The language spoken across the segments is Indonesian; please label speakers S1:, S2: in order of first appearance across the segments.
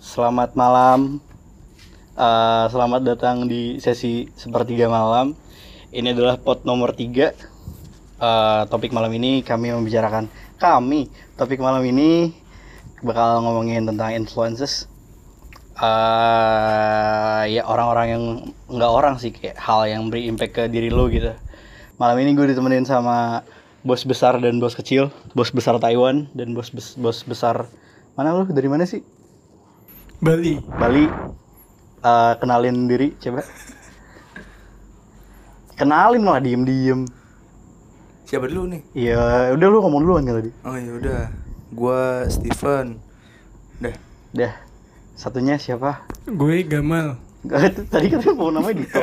S1: Selamat malam. Eh, selamat datang di sesi sepertiga malam. Ini adalah pot nomor 3. topik malam ini kami membicarakan kami. Topik malam ini bakal ngomongin tentang influences. Eh, ya orang-orang yang nggak orang sih kayak hal yang beri impact ke diri lo gitu. Malam ini gue ditemenin sama bos besar dan bos kecil, bos besar Taiwan dan bos bes- bos besar mana lo dari mana sih?
S2: Bali.
S1: Bali eh, kenalin diri coba kenalin malah diem diem
S2: Siapa dulu nih?
S1: ya udah lu ngomong duluan kan tadi
S2: Oh ya udah. Gua Steven. Dah.
S1: dah satunya siapa
S3: Gue Gamal.
S1: tadi kan lu mau namanya Dito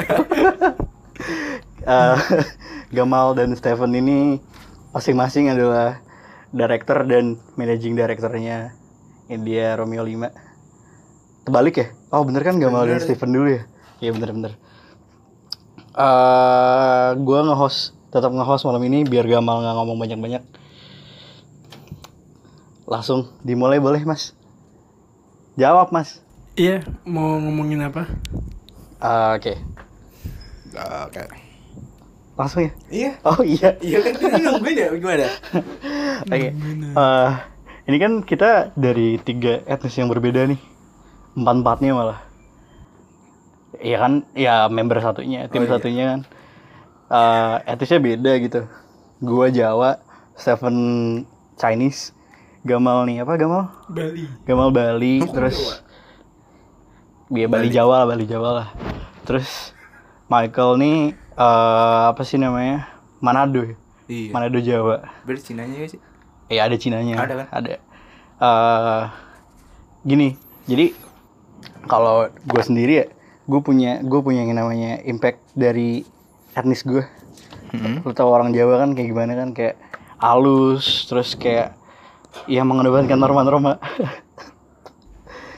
S1: Eh, Gamal dan Steven ini masing-masing adalah director dan managing directornya India Romeo 5 terbalik ya oh bener kan Gamal dan
S2: Bener.
S1: Steven dulu ya iya bener-bener eh gue nge-host tetap nge-host malam ini biar Gamal nggak ngomong banyak-banyak langsung dimulai boleh mas jawab mas
S3: Iya, mau ngomongin apa?
S1: Ah, oke
S2: Oke.
S1: langsung ya
S2: Iya.
S1: oh iya
S2: Iya kan tadi nungguin ya gimana?
S1: Oke. Eh, ini kan kita dari tiga etnis yang berbeda nih. Empat-empatnya malah. Iya kan? Ya member satunya, tim
S2: Oh, iya.
S1: satunya kan. Eh, etnisnya beda gitu. Gua Jawa, Seven Chinese, Gamal nih apa Gamal?
S3: Bali.
S1: Gamal Bali, terus dia Bali, Jawa lah, Bali Jawa lah. Terus Michael nih eh, apa sih namanya? Manado ya?
S2: Iya.
S1: Manado Jawa.
S2: Berarti Cinanya gak sih?
S1: Ya ada Cinanya.
S2: Ada kan?
S1: Ada. Eh, gini, jadi kalau gue sendiri ya, gue punya gue punya yang namanya impact dari etnis gue.
S2: Mm-hmm.
S1: Lu tau orang Jawa kan kayak gimana kan kayak halus, terus kayak ya mengedepankan norma-norma.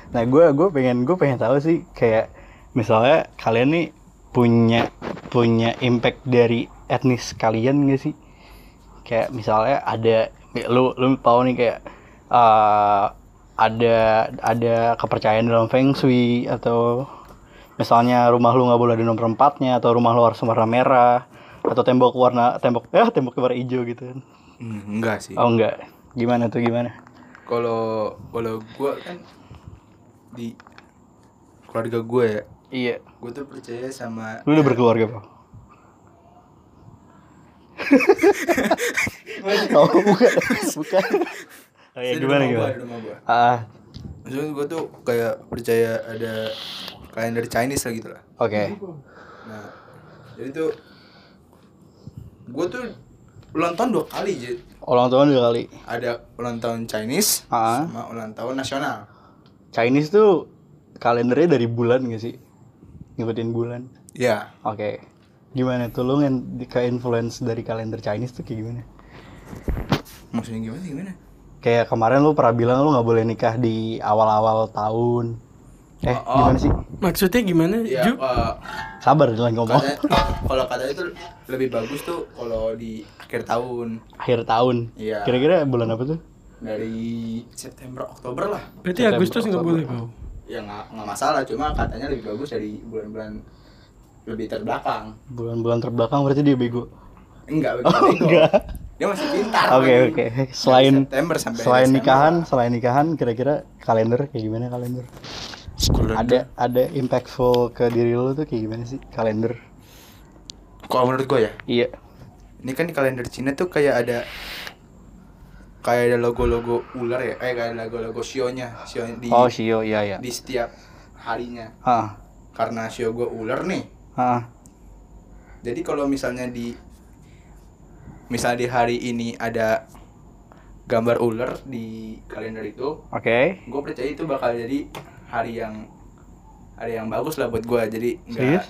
S1: nah gue gue pengen gue pengen tahu sih kayak misalnya kalian nih punya punya impact dari etnis kalian gak sih? kayak misalnya ada kayak lu lu tahu nih kayak eh, ada ada kepercayaan dalam feng shui atau misalnya rumah lu nggak boleh ada nomor empatnya atau rumah lu harus warna merah atau tembok warna tembok eh tembok warna hijau gitu kan
S2: Hmm, enggak sih.
S1: oh enggak gimana tuh gimana
S2: Kalau kalau gua kan di keluarga gue ya,
S1: iya
S2: gue tuh percaya sama
S1: lu udah berkeluarga pak oh bukan bukan oh, ya,
S2: Di
S1: gimana
S2: rumah
S1: gimana
S2: gua, di rumah gua.
S1: ah
S2: Maksudnya gue tuh kayak percaya ada kalender Chinese lah gitu lah.
S1: oke
S2: Nah, jadi tuh gue tuh ulang tahun dua kali jadi
S1: orang tua dua kali
S2: ada ulang tahun Chinese
S1: Ah.
S2: sama ulang tahun nasional.
S1: Chinese tuh kalendernya dari bulan gak sih? Ngikutin bulan.
S2: Ya,
S1: Oke. Gimana tuh lu yang ke influence dari kalender Chinese tuh kayak gimana?
S2: maksudnya gimana sih, gimana?
S1: Kayak kemarin lu pernah bilang lu nggak boleh nikah di awal-awal tahun. Eh,
S2: Oh, oh.
S1: gimana sih?
S3: Maksudnya gimana,
S2: Ya,
S3: Ju?
S2: eh,
S1: Sabar lagi ngomong.
S2: katanya- kalau katanya tuh lebih bagus tuh kalau di akhir tahun
S1: Akhir tahun.
S2: Iya.
S1: Kira-kira bulan apa tuh?
S2: dari September Oktober lah.
S3: Berarti
S1: September,
S3: Agustus nggak
S1: Oktober.
S3: boleh, Bro.
S2: Ya nggak nggak masalah, cuma katanya lebih bagus dari bulan-bulan lebih terbelakang.
S1: Bulan-bulan terbelakang berarti dia bego.
S2: Enggak,
S1: Oh,
S2: begitu.
S1: enggak.
S2: Dia masih pintar.
S1: Oke,
S2: Bang.
S1: oke.
S2: Dari
S1: Selain
S2: September sampai
S1: selain
S2: Desember.
S1: nikahan, selain nikahan kira-kira kalender kayak gimana kalender? Ada ada impactful ke diri lu tuh kayak gimana sih kalender?
S2: Kalau menurut gue ya,
S1: Iya.
S2: ini kan di kalender Cina tuh kayak ada kayak ada logo-logo ular ya, eh kayak ada logo-logo sionya, sio di
S1: Oh, Shio, iya ya.
S2: di setiap harinya.
S1: Ah,
S2: Karena sio gue ular nih.
S1: ah,
S2: Jadi kalau misalnya di misal di hari ini ada gambar ular di kalender itu,
S1: oke.
S2: gue percaya itu bakal jadi hari yang hari yang bagus lah buat gue. Jadi nggak-
S1: Serius?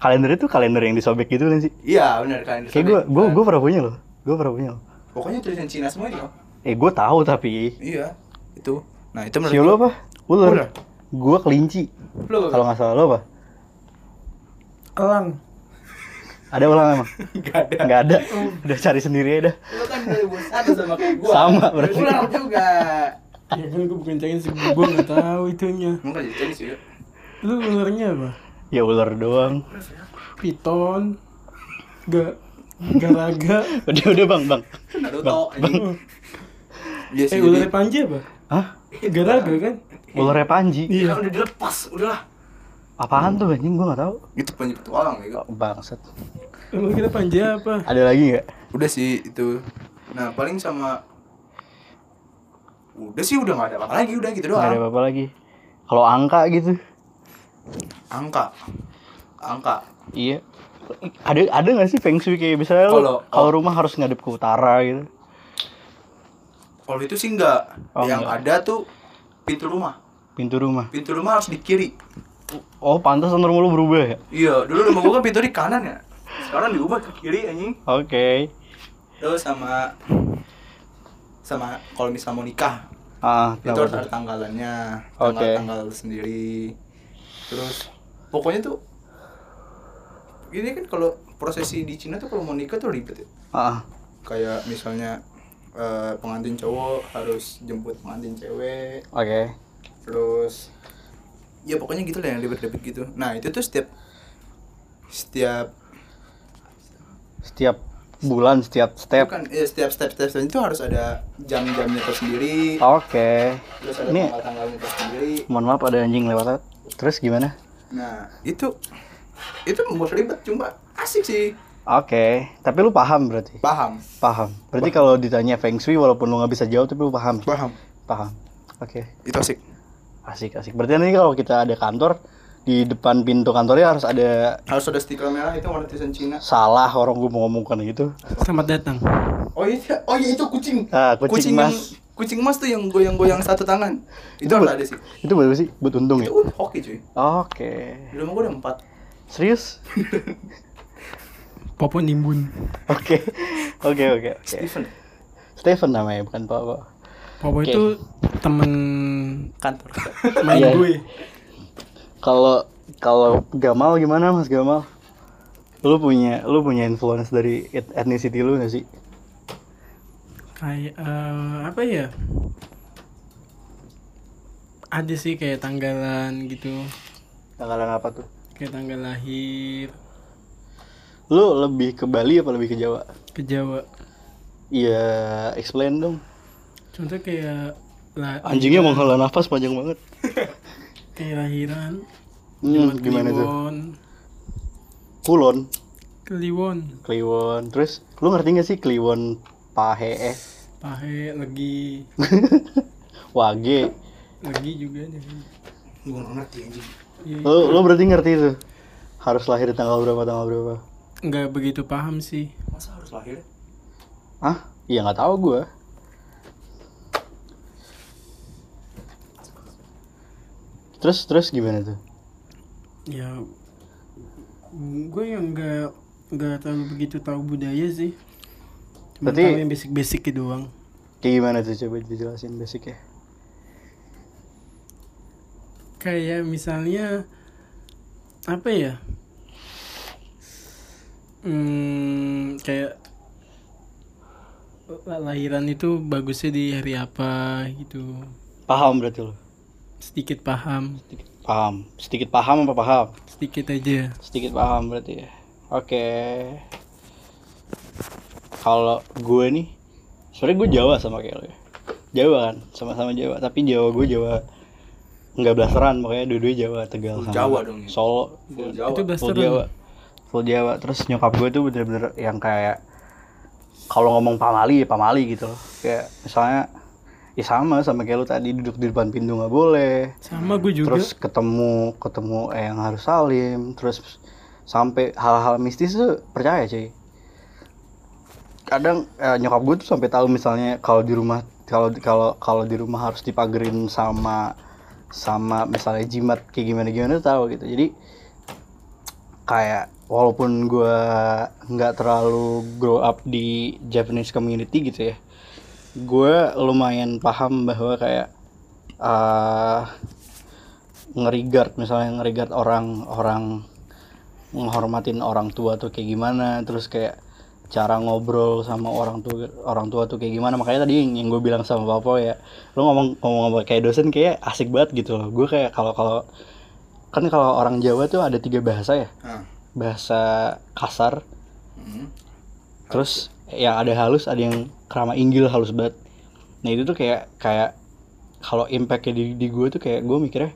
S1: Kalender itu kalender yang disobek gitu kan sih?
S2: Iya benar kalender.
S1: Kayak gue,
S2: sobek.
S1: gue, gue pernah punya loh. Gue pernah punya loh.
S2: Pokoknya tulisan Cina semua itu.
S1: Eh, gue tahu tapi.
S2: Iya, itu. Nah, itu
S1: Sio lo apa?
S2: Ular.
S1: Ular. Gue kelinci.
S2: Lu apa?
S1: Kalau nggak salah lo apa?
S3: Elang.
S1: Ada ulang emang?
S2: Nggak ada.
S1: Nggak ada. Udah cari sendiri aja dah.
S2: Lu kan dari bos satu sama kayak gua.
S1: Sama, berarti.
S2: Ular juga.
S3: ya kan gue bukan Chinese, gue gak tahu itunya.
S2: Emang kan jadi Chinese ya?
S3: Lu ularnya apa?
S1: ya ular doang
S3: Piton, gak garaga.
S1: udah udah bang bang
S2: Naruto anjing. Iya sih.
S3: eh
S2: jadi-
S3: ularnya panja apa?
S1: hah
S3: Garaga kan?
S1: ularnya panji
S2: Ya
S3: Iya.
S2: udah dilepas, udahlah.
S1: apaan tuh anjing gua nggak tahu
S2: Itu penyu petualang ya.
S1: Oh, bangsat
S3: Emang kita panja apa?
S1: ada lagi nggak
S2: Udah sih itu. Nah, paling sama Udah sih udah nggak ada apa-apa lagi udah gitu
S1: nggak ada
S2: doang.
S1: apa-apa lagi kalau angka gitu
S2: Angka. Angka.
S1: iya ada ada nggak sih feng shui kayak misalnya lu
S2: Kalau-
S1: kalau rumah harus ngadep ke utara gitu
S2: Kalau itu sih enggak.
S1: Oh,
S2: Yang
S1: enggak.
S2: ada tuh pintu rumah.
S1: pintu rumah
S2: Pintu rumah harus di kiri.
S1: oh pantas nomor lu berubah ya
S2: Iya, dulu rumah gua kan pintu di kanan ya. Sekarang diubah ke kiri anjing.
S1: oke
S2: Terus sama sama kalau misalnya mau nikah,
S1: ah
S2: itu
S1: kenapa
S2: harus
S1: tuh?
S2: ada tanggalannya,
S1: Oke.
S2: tanggal-tanggal sendiri. Terus pokoknya tuh ini kan kalau prosesi di Cina tuh kalau mau nikah tuh ribet ya.
S1: ah
S2: Kayak misalnya eh, pengantin cowok harus jemput pengantin cewek,
S1: oke
S2: terus ya pokoknya gitu lah yang ribet-ribet gitu nah itu tuh setiap setiap
S1: setiap bulan setiap step
S2: bukan ya setiap step step step itu harus ada jam-jamnya tersendiri
S1: oke
S2: terus ada
S1: Oh. ini
S2: tanggal-tanggalnya tersendiri
S1: mohon maaf ada anjing lewat terus gimana
S2: nah itu itu membuat ribet cuma asik sih
S1: oke tapi lu paham berarti
S2: paham
S1: paham berarti kalau ditanya feng shui walaupun lu nggak bisa jawab tapi lu paham ya?
S2: paham
S1: paham oke
S2: itu asik
S1: asik asik berarti nanti kalau kita ada kantor di depan pintu kantornya harus ada
S2: harus ada stiker merah itu warna tulisan Cina
S1: salah orang gue mau ngomongkan gitu
S3: Selamat datang.
S2: oh iya oh iya itu kucing
S1: Ah, kucing
S2: yang-
S1: mas.
S2: kucing mas tuh yang goyang-goyang satu tangan itu,
S1: buat-
S2: harus ada sih
S1: itu buat apa sih buat untung ya
S2: itu
S1: oke
S2: hoki cuy di rumah gua ada empat
S1: serius
S3: Popo nimbun.
S1: oke oke oke oke
S2: Steven
S1: Stephen namanya bukan Papa
S3: Popo
S1: Oke.
S3: itu temen
S2: kantor
S3: main
S1: Iya.
S3: gue.
S1: kalau kalau Gamal gimana Mas Gamal lu punya lu punya influence dari et- ethnicity lu nggak sih
S3: Kayak eh, apa ya? Ada sih kayak tanggalan gitu,
S1: tanggalan apa tuh
S3: kayak tanggal lahir
S1: lu lebih ke Bali apa lebih ke Jawa
S3: ke Jawa.
S1: Iya, explain dong.
S3: Contoh kayak la-
S1: Anjingnya menghela nafas panjang banget.
S3: kayak lahiran
S1: Hmm,
S3: Jumat
S1: gimana tuh?
S3: Kliwon.
S1: Kulon,
S3: Kliwon,
S1: Kliwon. Terus lu ngerti gak sih Kliwon pahe eh
S3: pahe legi,
S1: wage?
S3: legi juga deh.
S2: gua nggak ngerti anjing
S3: Ya,
S1: Lu lu berarti ngerti tuh. Harus lahir di tanggal berapa tanggal berapa?
S3: nggak begitu paham sih.
S2: masa harus lahir
S1: Ah, iya nggak tahu gua. Terus terus gimana tuh?
S3: Ya, gue yang nggak nggak tahu begitu tahu budaya sih. Cuma
S1: Berarti-
S3: tahu yang basic-basic gitu doang.
S1: Kayak gimana tuh coba dijelasin basicnya
S3: kayak misalnya apa ya hmm, kayak la- lahiran itu bagusnya di hari apa gitu
S1: Paham berarti lu.
S3: sedikit paham
S1: Sedikit Paham. Sedikit paham apa paham?
S3: sedikit aja
S1: sedikit paham berarti ya oke kalau gue nih sebenarnya gue Jawa sama kayak lo ya Jawa kan sama-sama Jawa tapi Jawa gue Jawa nggak blasteran makanya dua-duanya Jawa Tegal
S2: Full
S1: sama
S2: Jawa dong ya?
S1: Solo
S2: Full
S1: Full
S2: Jawa.
S3: itu blasteran
S1: Jawa full Jawa terus nyokap gue tuh bener-bener yang kayak kalau ngomong pamali ya pamali gitu loh kayak misalnya ya sama sama kayak lu tadi duduk di depan pintu nggak boleh
S3: sama gue juga
S1: terus ketemu ketemu yang harus salim terus sampai hal-hal mistis tuh percaya cuy kadang eh, nyokap gue tuh sampai tahu misalnya kalau di rumah kalau kalau kalau di rumah harus dipagerin sama sama misalnya jimat kayak gimana gimana tuh tahu gitu jadi kayak walaupun gue nggak terlalu grow up di Japanese community gitu ya gue lumayan paham bahwa kayak eh ngerigard misalnya ngerigard orang orang menghormatin orang tua tuh kayak gimana terus kayak cara ngobrol sama orang tua orang tua tuh kayak gimana makanya tadi yang, yang gue bilang sama papa ya lo ngomong ngomong ngomong kayak dosen kayak asik banget gitu loh gue kayak kalau kalau kan kalau orang Jawa tuh ada tiga bahasa ya
S2: Hah.
S1: bahasa kasar
S2: Hmm.
S1: terus yang ada halus ada yang kerama inggil halus banget nah itu tuh kayak kayak kalau impactnya di di gue tuh kayak gue mikirnya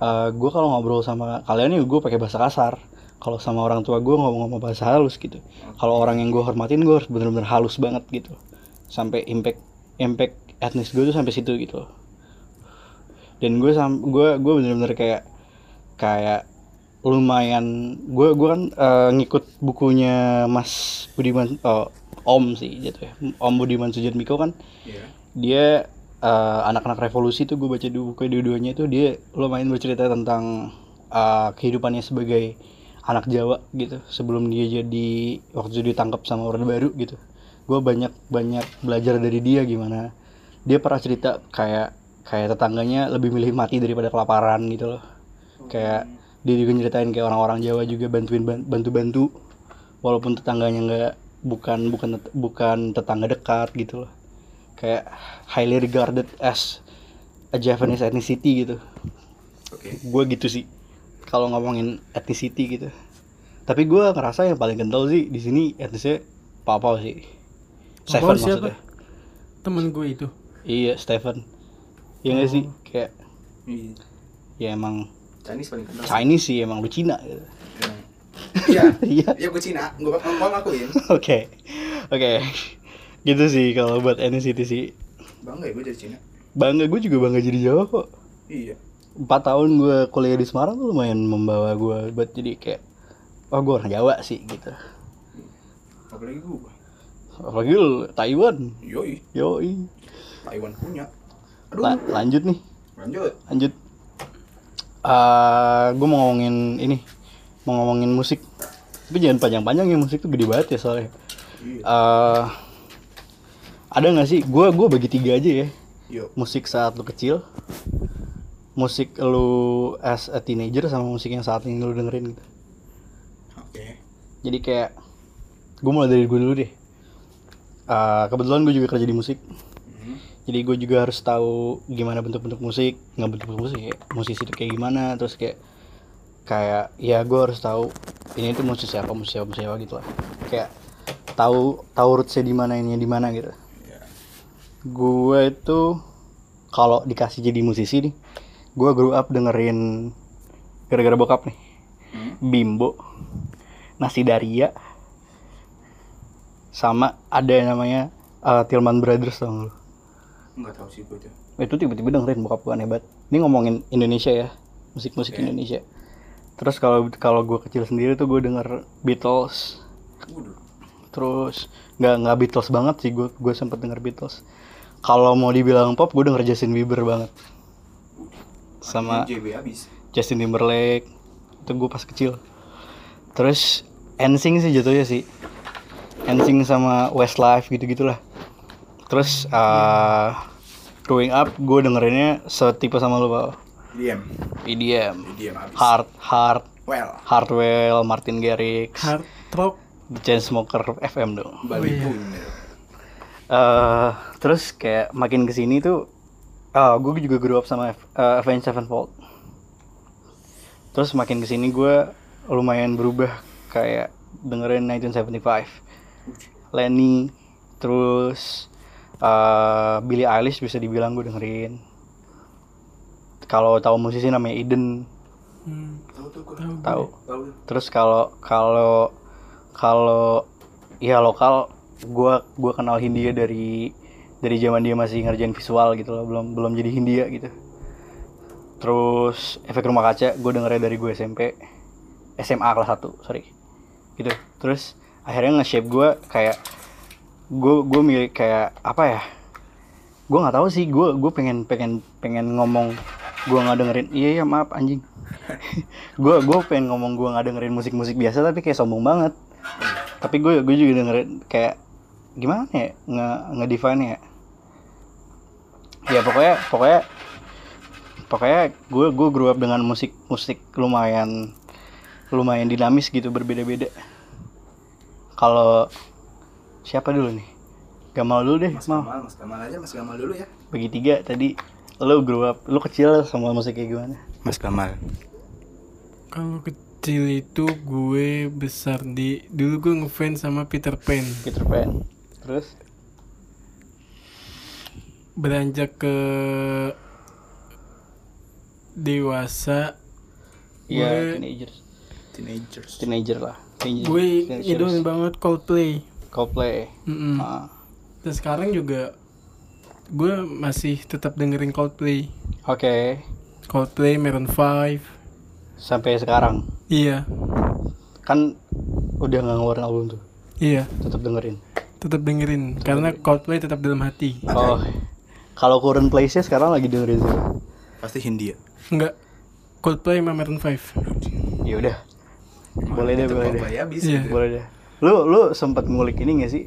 S1: eh gue kalau ngobrol sama kalian nih gue pakai bahasa kasar kalau sama orang tua gue ngomong ngomong bahasa halus gitu kalau orang yang gue hormatin gue harus bener-bener halus banget gitu sampai impact impact etnis gue tuh sampai situ gitu dan gue sam gue gue bener-bener kayak kayak lumayan gue gue kan eh, ngikut bukunya Mas Budiman eh, Om sih jatuh ya Om Budiman Sujatmiko kan
S2: Iya.
S1: dia eh, anak-anak revolusi tuh gue baca di buku dua-duanya tuh dia lumayan bercerita tentang eh, kehidupannya sebagai anak Jawa gitu sebelum dia jadi waktu itu ditangkap sama Orde Baru gitu gue banyak banyak belajar dari dia gimana dia pernah cerita kayak kayak tetangganya lebih milih mati daripada kelaparan gitu loh kayak dia juga nyeritain kayak orang-orang Jawa juga bantuin ban- bantu-bantu walaupun tetangganya nggak bukan bukan tet- bukan tetangga dekat gitu loh kayak highly regarded as a Japanese ethnicity gitu.
S2: Oke.
S1: Gue gitu sih kalau ngomongin ethnicity gitu. Tapi gue ngerasa yang paling kental sih di sini etnisnya Papau sih. Stephen
S3: Papau siapa?
S1: maksudnya.
S3: temen gue itu
S1: Iya Stephen. Iya nggak sih kayak
S2: Iya.
S1: ya emang
S2: Chinese paling kental.
S1: Chinese sih emang lu Cina gitu.
S2: Emang. Iya.
S1: Iya.
S2: Iya gue Cina. Gue gua gua ngakuin.
S1: Oke. Oke. Gitu sih kalau buat ethnicity sih.
S2: Bangga ya gue jadi Cina.
S1: Bangga gue juga bangga jadi Jawa kok.
S2: Iya.
S1: empat tahun gue kuliah di Semarang tuh lumayan membawa gue buat jadi kayak oh gue orang Jawa sih gitu
S2: Apalagi gue.
S1: apalagi lu Taiwan
S2: Yoi.
S1: yoi
S2: Taiwan punya. Aduh.
S1: La- lanjut nih
S2: Lanjut.
S1: lanjut Eh gue mau ngomongin ini mau ngomongin musik tapi jangan panjang-panjang ya musik tuh gede banget ya soalnya
S2: Iya.
S1: Eh ada nggak sih gue gue bagi tiga aja ya
S2: Yo.
S1: musik saat lu kecil musik lu as a teenager sama musik yang saat ini lu dengerin gitu
S2: Oke.
S1: jadi kayak gue mulai dari gue dulu deh Eh, kebetulan gue juga kerja di musik
S2: Mhm.
S1: jadi gue juga harus tahu gimana bentuk-bentuk musik nggak bentuk-bentuk musik ya musisi itu kayak gimana terus kayak kayak ya gue harus tahu ini tuh musisi apa musisi apa musisi apa gitu lah kayak tahu tahu rootsnya di mana ini di mana gitu
S2: Iya.
S1: gue itu kalau dikasih jadi musisi nih gue grew up dengerin gara-gara bokap nih
S2: Hmm.
S1: bimbo nasi daria sama ada yang namanya uh, Tillman Brothers tau nggak lu
S2: Enggak tahu sih gue tuh.
S1: itu tiba-tiba dengerin bokap gue aneh banget ini ngomongin Indonesia ya musik-musik
S2: Oke.
S1: Indonesia terus kalau kalau gue kecil sendiri tuh gue denger Beatles
S2: Waduh.
S1: terus nggak nggak Beatles banget sih gue gue sempet denger Beatles kalau mau dibilang pop gue denger Justin Bieber banget sama
S2: Ini JB habis.
S1: Justin Timberlake itu gue pas kecil terus NSYNC sih jatuhnya sih NSYNC sama Westlife gitu gitulah terus uh, growing up gue dengerinnya setipe sama lo pak
S2: Diam.
S1: EDM
S2: Diam habis.
S1: hard hard
S2: Well.
S1: Hardwell Martin Garrix
S3: hard rock
S1: The Chainsmoker FM dong
S2: Bali
S3: iya.
S2: punya.
S1: eh terus kayak makin kesini tuh eh gue juga grew up sama F- eh, Avenged Sevenfold terus makin kesini gue lumayan berubah kayak dengerin 1975 Lenny terus eh Billie Eilish bisa dibilang gue dengerin kalau tahu musisi namanya Eden
S3: Hmm,
S2: Tahu tuh gue.
S3: tahu gue.
S1: tahu
S2: Tahu.
S1: terus kalau kalau kalau ya lokal gua gua kenal Hindia dari dari zaman dia masih ngerjain visual gitu loh belum belum jadi Hindia gitu terus efek rumah kaca gue dengernya dari gue SMP SMA kelas 1 sorry gitu terus akhirnya nge-shape gue kayak gue gue milik kayak apa ya gue nggak tahu sih gue gue pengen pengen pengen ngomong gue nggak dengerin iya ya maaf anjing gue gue pengen ngomong gue nggak dengerin musik musik biasa tapi kayak sombong banget tapi gue gue juga dengerin kayak gimana ya nge nge define ya ya pokoknya pokoknya pokoknya gue gue grew up dengan musik musik lumayan lumayan dinamis gitu berbeda-beda kalau siapa dulu nih Gamal dulu deh
S2: Mas
S1: Mal
S2: Kamal, Mas Kamal aja, Mas Kamal dulu ya.
S1: bagi tiga tadi lo grow up lo kecil sama musik kayak gimana
S2: Mas Kamal.
S3: Kalau kecil itu gue besar di dulu gue ngefans sama Peter Pan.
S1: Peter Pan terus
S3: Beranjak ke dewasa
S1: ya
S3: Gue-
S1: teenager
S2: Teenagers.
S1: teenager lah teenager,
S3: gue
S1: teenagers.
S3: idolin banget Coldplay.
S1: Coldplay
S3: Mm-mm.
S1: Ah.
S3: Dan sekarang juga gue masih tetap dengerin Coldplay.
S1: oke
S3: Coldplay, Maroon 5.
S1: sampai sekarang
S3: Iya.
S1: kan udah nggak ngeluarin album tuh
S3: Iya,
S1: tetap dengerin
S3: tetap dengerin karena Coldplay tetap dalam hati.
S1: oh kalau current place nya sekarang lagi dengerin tuh
S2: Pasti Hindia.
S3: Enggak. Coldplay sama Maroon 5.
S1: ya udah boleh deh boleh deh
S2: Ya bisa.
S3: Iya.
S1: boleh deh lu lu sempat ngulik ini gak sih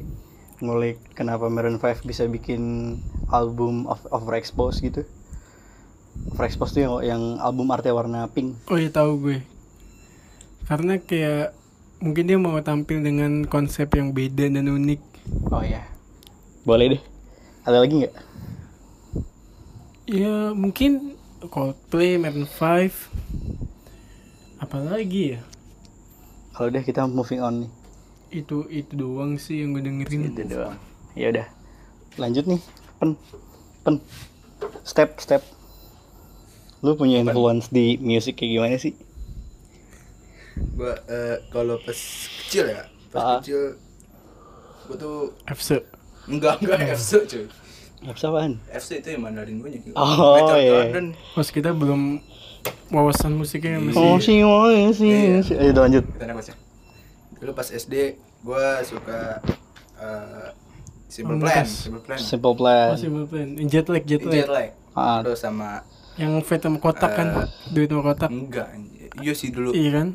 S1: ngulik kenapa Maroon 5 bisa bikin album of overexposed gitu overexposed tuh yang, yang album artinya warna pink
S3: Oh iya tahu gue. Karena kayak mungkin dia mau tampil dengan konsep yang beda dan unik.
S1: oh ya boleh deh ada lagi nggak
S3: Ya mungkin Coldplay, Maroon 5. Apalagi ya?
S1: kalau deh kita moving on nih
S3: Itu itu doang sih yang gue dengerin.
S1: itu doang ya udah lanjut nih pen pen step step lu punya influence di music kayak gimana sih
S2: Gua eh, kalau pas kecil ya, pas
S1: Ah.
S2: kecil gua tuh
S3: FC.
S2: enggak enggak FC cuy.
S1: Apa apaan
S2: FC itu yang Mandarin gue
S1: Oh, iya.
S2: Jordan.
S3: Pas kita belum wawasan musiknya masih
S1: oh sih oh sih sih. ayo lanjut
S2: Kita nembak ya. Dulu pas SD gua suka eh, Simple
S1: Hmm,
S2: Plan,
S3: Komunitas.
S2: Simple Plan.
S1: simple plan
S3: masih belum jet lag, jet
S2: Jet
S3: lag.
S2: lag.
S1: Ah.
S2: Terus sama
S3: Yang fat sama kotak kan,
S2: Eh.
S3: duit sama kotak.
S2: enggak anjir. Iya sih dulu.
S3: Iya kan?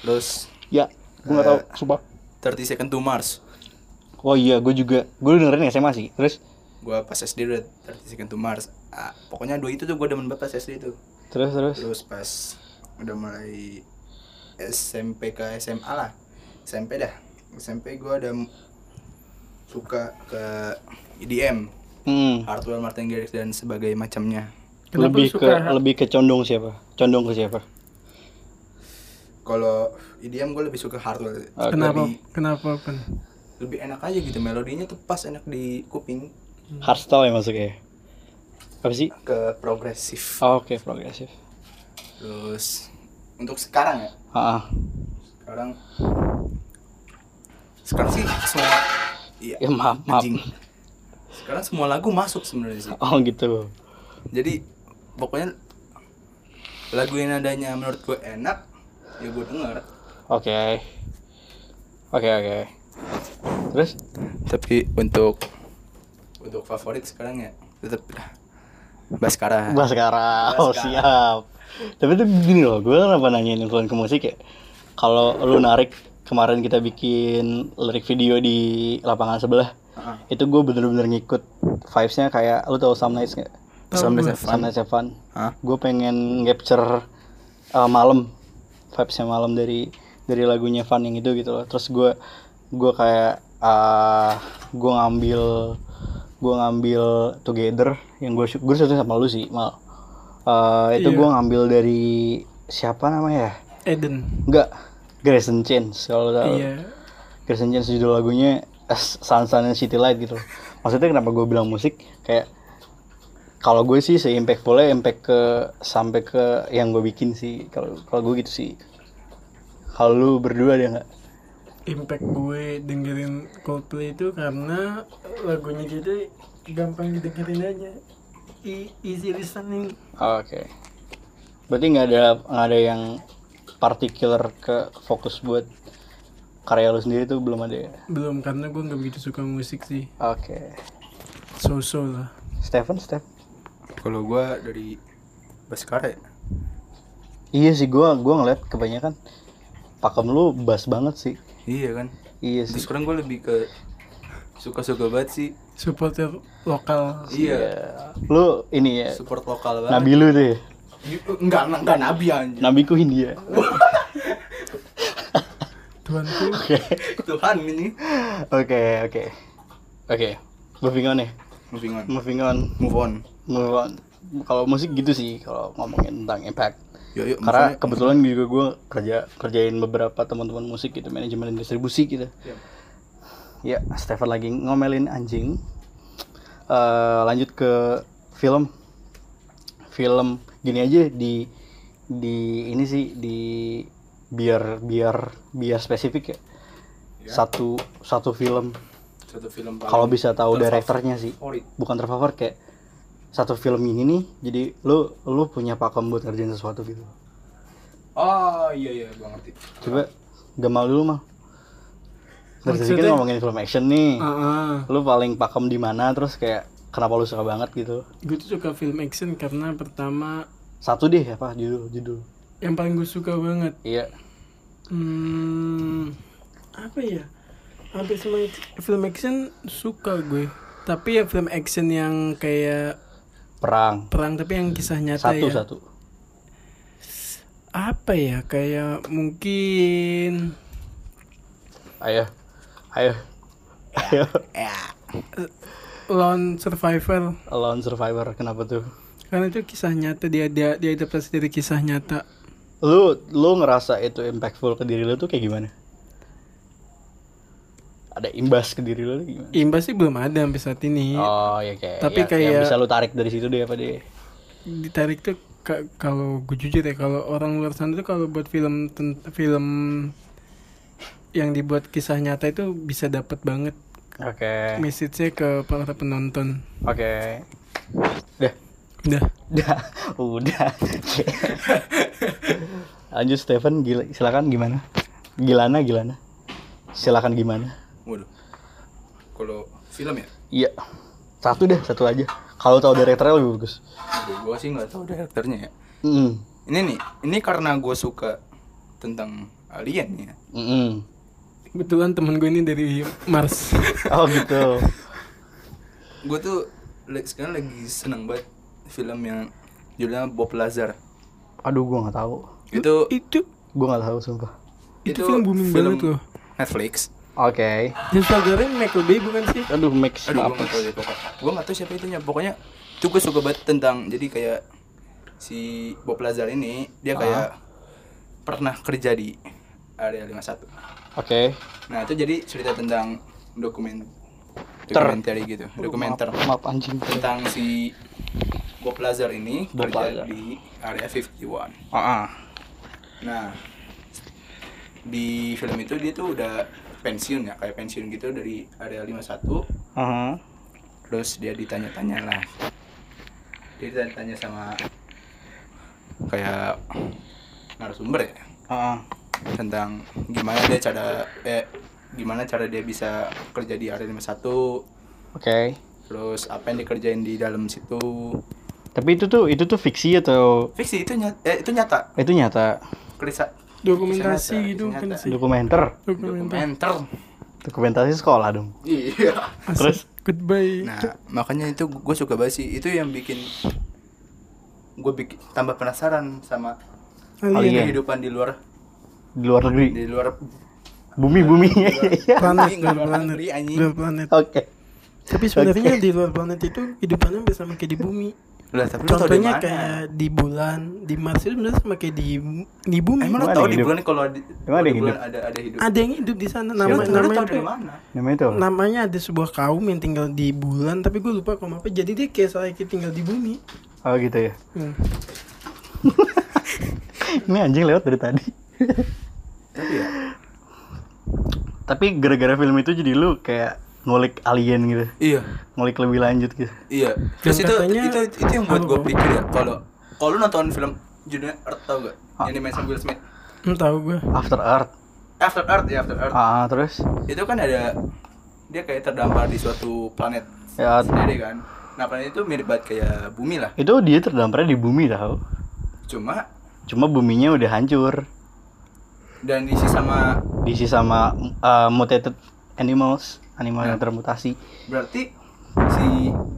S2: Terus
S1: ya gue nggak tahu sumpah
S2: 30 Second to Mars.
S1: oh iya gue juga gue dengerin SMA sih terus
S2: Gua pas SD udah 30 Second to Mars. Ah, pokoknya dua itu tuh gua demen banget pas SD itu.
S1: terus terus
S2: Terus pas udah mulai SMP ke SMA lah. SMP dah. SMP gua ada m- suka ke EDM,
S1: hmm.
S2: Hardwell Martin Garrix dan sebagai macamnya.
S3: Kenapa lu
S1: lebih ke
S3: suka?
S1: lebih ke condong siapa condong ke siapa
S2: Kalau EDM gue lebih suka Hardwell.
S1: Oke.
S3: Kenapa?
S2: Lebih,
S3: Kenapa Pen?
S2: lebih enak aja gitu melodinya tuh pas enak di kuping
S1: hardstyle ya masuknya ya? apa sih
S2: ke progresif.
S1: oh, oke progresif
S2: Terus untuk sekarang ya,
S1: ah ah.
S2: sekarang sekarang sih semua iya
S1: ya maaf maaf
S2: anjing. Sekarang semua lagu masuk sebenarnya sih.
S1: oh gitu
S2: jadi pokoknya lagu yang nadanya menurut gue enak ya gue denger
S1: Oke. Oke, oke. Terus
S2: tapi untuk untuk favorit sekarang ya tetap lah Baskara
S1: Baskara. Oh,
S2: Baskara.
S1: siap. Tapi itu gini loh, gue kenapa nanyain influence ke musik ya? Kalau lu narik kemarin kita bikin lirik video di lapangan sebelah,
S2: Heeh.
S1: itu gue bener-bener ngikut vibes-nya kayak lu tau Some Nights nggak?
S2: Some Nights Have Fun.
S1: Some Nights Have Fun.
S2: Hah?
S1: Gue pengen capture uh, malam vibes-nya malam dari dari lagunya Fun yang itu gitu loh. Terus gue gue kayak uh, gue ngambil gue ngambil together yang gue gue setuju sama lu sih mal Uh, itu
S3: Iya.
S1: gue ngambil dari siapa namanya ya?
S3: Eden.
S1: Enggak, Grayson Chance kalau lu tahu.
S3: Iya.
S1: Kristen James judul lagunya eh, Sun Sun and City Light gitu loh. Maksudnya kenapa gue bilang musik kayak kalau gue sih se-impactfulnya impact ke sampai ke yang gue bikin sih kalau kalau gue gitu sih. Kalau lu berdua ada nggak?
S3: Impact gue dengerin Coldplay itu karena lagunya gitu gampang didengerin aja. E- easy listening.
S1: Oke. Berarti nggak ada nggak ada yang particular ke fokus buat karya lu sendiri tuh belum ada ya?
S3: Belum karena gue nggak begitu suka musik sih.
S1: Oke.
S3: So-so lah.
S1: Stephen, Steph.
S2: kalau gue dari Baskara ya
S1: Iya sih gue gue ngeliat kebanyakan pakem lu bass banget sih.
S2: iya kan
S1: Iya
S2: Terus
S1: sih.
S2: sekarang gue lebih ke suka-suka banget sih
S3: Supporter lokal.
S2: iya
S1: Lu ini ya
S2: support lokal banget
S1: Nabi lu ya? deh.
S2: Iya, enggak enggak, enggak nabi anjir
S1: Nabiku Hindia.
S3: Tuhanku
S1: Oke.
S2: Tuhan ini
S1: Oke, oke. Oke. Moving on ya.
S2: moving on
S1: Moving on.
S2: move on
S1: Move on. Kalau musik gitu sih kalau ngomongin tentang impact.
S2: yuk yuk move on,
S1: Karena
S2: yuk.
S1: kebetulan juga gue kerja kerjain beberapa teman-teman musik gitu, manajemen dan distribusi gitu.
S2: Yuk.
S1: Ya, Stefan lagi ngomelin anjing. Eh, lanjut ke film. Film gini aja di di ini sih di biar biar biar spesifik ya.
S2: Ya.
S1: Satu satu film
S2: satu film paling
S1: kalau bisa tahu
S2: terfavorit.
S1: direkturnya sih. Bukan terfavorit kayak satu film ini nih. Jadi lu lu punya pakem buat ngerjain sesuatu gitu.
S2: oh iya iya gua ngerti
S1: Coba gamal dulu mah. Terus tadi
S3: Maksudnya- Ah.
S1: kan ngomongin film action nih.
S3: Heeh.
S1: Lu paling pakem di mana terus kayak kenapa lu suka banget gitu?
S3: gue tuh suka film action karena pertama
S1: Satu deh apa judul judul.
S3: yang paling gue suka banget
S1: Iya.
S3: Hmm, apa ya? Hampir semua film action suka gue. Tapi ya film action yang kayak
S1: Perang.
S3: perang tapi yang kisah nyata
S1: Satu
S3: ya.
S1: satu.
S3: Apa ya? Kayak mungkin
S1: Ayo. Ayo. Ayo.
S3: Lone Survivor
S1: Alone Survivor kenapa tuh?
S3: karena itu kisah nyata dia dia dia adaptasi dari kisah nyata.
S1: Lu lu ngerasa itu impactful ke diri lu tuh kayak gimana? Ada imbas ke diri lu tuh gimana?
S3: Imbas sih belum ada sampai saat ini.
S1: Oh ya kayak
S3: Iya. Tapi
S1: ya- yang
S3: kayak-
S1: bisa lu tarik dari situ deh apa deh.
S3: Ditarik tuh ka- kalau gue jujur ya kalau orang luar sana tuh kalau buat film ten- film yang dibuat kisah nyata itu bisa dapat banget
S1: Oke.
S3: message-nya ke para penonton.
S1: Oke. Deh.
S3: Udah.
S1: Udah, udah. Lanjut Stephen, gila, silakan gimana? Gilana, gilana. Silakan gimana?
S2: waduh kalau film ya
S1: Iya. Satu deh, satu aja. Kalau tahu direkturnya lebih bagus.
S2: Aduh, gua sih nggak tahu direkturnya ya
S1: Mm,
S2: ini nih ini karena gue suka tentang alien ya
S1: mm, mm.
S3: Kebetulan temen gue ini dari Mars.
S1: Oh gitu.
S2: gue tuh li- sekarang lagi seneng banget film yang judulnya Bob Lazar
S1: Aduh, gua nggak tahu.
S2: itu
S3: itu
S1: Gua nggak tahu sumpah.
S3: itu film booming
S2: film
S3: banget loh.
S2: Netflix
S1: Oke.
S3: Dan saudaranya Michael Bay bukan sih?
S1: Aduh, mix
S2: aduh gue
S1: maaf.
S2: nggak tahu deh pokoknya gue nggak tahu siapa itunya pokoknya tuh gue suka banget tentang jadi kayak si Bob Lazar ini dia kayak pernah kerja di area 51
S1: Oke.
S2: nah itu jadi cerita tentang dokumen
S1: Ter.
S2: dokumenter gitu dokumenter
S1: Maaf, maaf, anjing.
S2: tentang si Bob Lazar ini
S1: Bob
S2: kerja
S1: Lazar.
S2: di area 51.
S1: Ah, ah.
S2: Nah, di film itu dia tuh udah pensiun ya, kayak pensiun gitu dari area 51.
S1: Aha.
S2: Terus dia ditanya-tanya lah. Dia ditanya-tanya sama kayak narasumber ya
S1: Ah, ah.
S2: tentang gimana dia cara eh gimana cara dia bisa kerja di area 51
S1: Oke.
S2: terus apa yang dikerjain di dalam situ
S1: Tapi itu tuh itu tuh fiksi atau
S2: fiksi itu nyata, eh, itu nyata
S1: itu nyata
S2: Kerisa
S3: Dokumentasi
S2: Ternyata,
S3: gitu kan
S2: ternyata.
S3: sih.
S1: dokumenter?
S3: Dokumenter.
S2: dokumenter.
S1: Dokumentasi sekolah dong.
S2: Iya.
S1: Terus?
S3: Terus goodbye.
S2: Nah, makanya itu gue suka banget sih. Itu yang bikin gue bikin tambah penasaran sama
S1: Alien.
S3: Alien.
S2: kehidupan di luar
S1: Di luar negeri.
S2: di luar
S1: Bumi bumi.
S2: Iya.
S3: Planet,
S2: Nggak
S3: luar
S2: luar
S3: planet.
S2: negeri, anjing.
S3: Luar planet.
S1: Oke.
S3: Tapi sebenarnya di luar planet itu hidupannya hampir sama kayak di bumi.
S2: lah tapi lu tau di
S3: Contohnya
S2: mana?
S3: kayak di bulan, di Mars itu sebenarnya sama kayak di di bumi.
S2: Emang lu
S1: Emang
S2: tau
S1: ada
S2: di
S1: hidup?
S2: bulan kalau di,
S1: Emang ada
S2: di bulan
S1: hidup?
S2: ada ada hidup.
S3: Ada yang hidup di sana
S2: Lu-
S3: nama
S2: lu
S3: namanya
S2: tau dari
S3: itu-
S2: mana?
S1: Namanya itu apa?
S3: namanya ada sebuah kaum yang tinggal di bulan tapi gue lupa kaum apa jadi dia kayak saya tinggal di bumi
S1: Oh gitu ya.
S3: Hmm.
S1: Ini anjing lewat dari tadi.
S2: Tapi ya,
S1: Tapi gara-gara film itu jadi lu kayak ngulik alien gitu.
S2: iya,
S1: Ngulik lebih lanjut gitu.
S2: iya. Terus itu,
S3: katanya-
S2: itu itu yang buat
S3: Apa,
S2: gue
S3: Bang?
S2: pikir ya kalau kalau lu nonton film judulnya Earth tau gak? Yang dimain sama Will Smith.
S3: hmm, tahu gue
S1: After Earth.
S2: After Earth ya After Earth.
S1: Ah terus
S2: Itu kan ada dia kayak terdampar di suatu planet
S1: ya
S2: sendiri kan. Nah planet itu mirip banget kayak bumi lah.
S1: itu dia terdamparnya di bumi tau.
S2: Cuma
S1: Cuma buminya udah hancur.
S2: dan diisi sama
S1: Diisi sama uh, mutated animals, animal yang termutasi.
S2: berarti si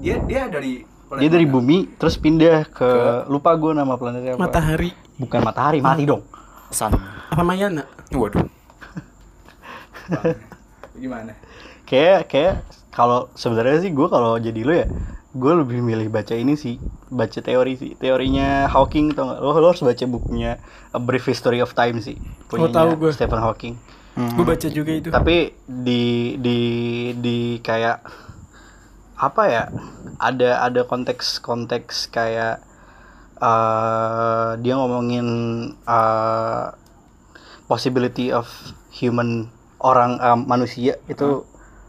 S2: dia dia dari
S1: Dia dari bumi terus pindah ke lupa gue nama planetnya apa.
S3: matahari
S1: Bukan matahari, mati dong.
S2: sana.
S3: Ramayana
S2: Waduh. Bang. Gimana?
S1: kayak kayak kalau sebenarnya sih gue kalau jadi lo ya gue lebih milih baca ini sih baca teori sih teorinya Hawking tau nggak lo, lo harus baca bukunya A Brief History of Time sih
S3: Oh,
S1: punyanya
S3: tahu gue.
S1: Stephen Hawking
S2: Hmm.
S3: Gue baca juga itu.
S1: tapi di di di kayak apa ya ada ada konteks konteks kayak eh dia ngomongin eh possibility of human orang eh, manusia itu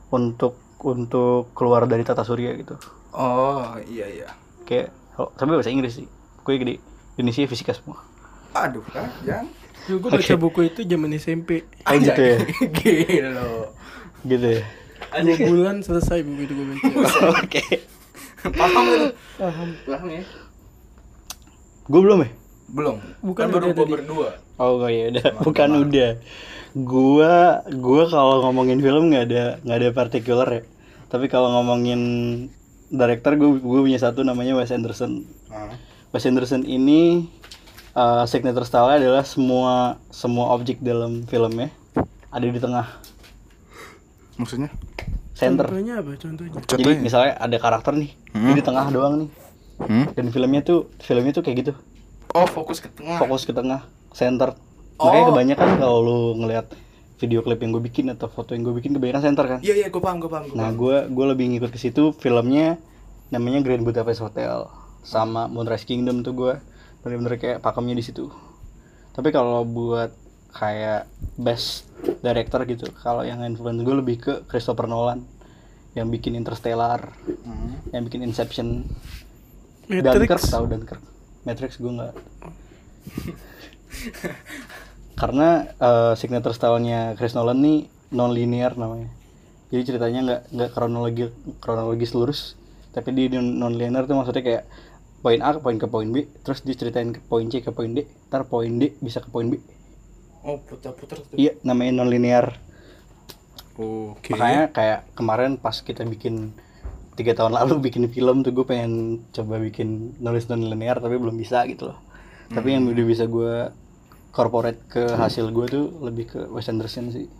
S1: untuk untuk keluar dari tata surya gitu
S2: Oh, iya iya.
S1: kayak oh, tapi bahasa Inggris sih gue gede Indonesia fisika semua
S2: Aduh, kan jangan.
S3: Dulu gue baca buku itu zaman SMP.
S1: kayak gitu ya
S2: Gila.
S1: gitu ya
S3: Dua bulan selesai buku itu gue baca.
S1: oke
S2: Paham lu? Paham ya?
S1: gue belum ya
S2: Belum.
S3: Bukan
S2: Kan baru
S3: udah
S2: gua
S3: tadi.
S2: berdua.
S1: Oh enggak, ya udah, bukan udah. Gua gua kalau ngomongin film nggak ada nggak ada particular ya. Tapi kalau ngomongin director gua gua punya satu namanya Wes Anderson.
S2: Ah.
S1: Wes Anderson ini eh, signature style adalah semua semua objek dalam filmnya ada di tengah
S2: Maksudnya?
S1: center.
S3: Contohnya apa? Contohnya.
S1: Jadi misalnya ada karakter nih, dia di tengah doang nih.
S2: Hmm?
S1: Dan filmnya tuh filmnya tuh kayak gitu.
S2: Oh, fokus ke tengah.
S1: fokus ke tengah center makanya kebanyakan kalau lu ngelihat video klip yang gue bikin atau foto yang gue bikin kebanyakan center kan
S2: Iya iya, gua paham, gua paham, gua
S1: nah
S2: paham.
S1: gue gue lebih ngikut ke situ filmnya namanya Grand Budapest Hotel sama Moonrise Kingdom tuh gue bener-bener kayak pakemnya di situ tapi kalau buat kayak best director gitu kalau yang influence gue lebih ke Christopher Nolan yang bikin Interstellar
S2: Hmm.
S1: yang bikin Inception Dunkirk
S3: Matrix.
S1: tahu Dunkirk Matrix gue nggak karena eh, signature style-nya Chris Nolan nih non linear namanya jadi ceritanya nggak nggak kronologi kronologis lurus tapi di non linear tuh maksudnya kayak poin A ke poin ke poin B terus diceritain ke poin C ke poin D ntar poin D bisa ke poin B
S2: Oh, putar-putar tuh.
S1: iya namanya non linear
S2: Oke.
S1: makanya kayak kemarin pas kita bikin tiga tahun lalu bikin film tuh gue pengen coba bikin nulis non linear tapi belum bisa gitu loh tapi yang udah bisa gue corporate ke hasil gue tuh lebih ke Wes Anderson sih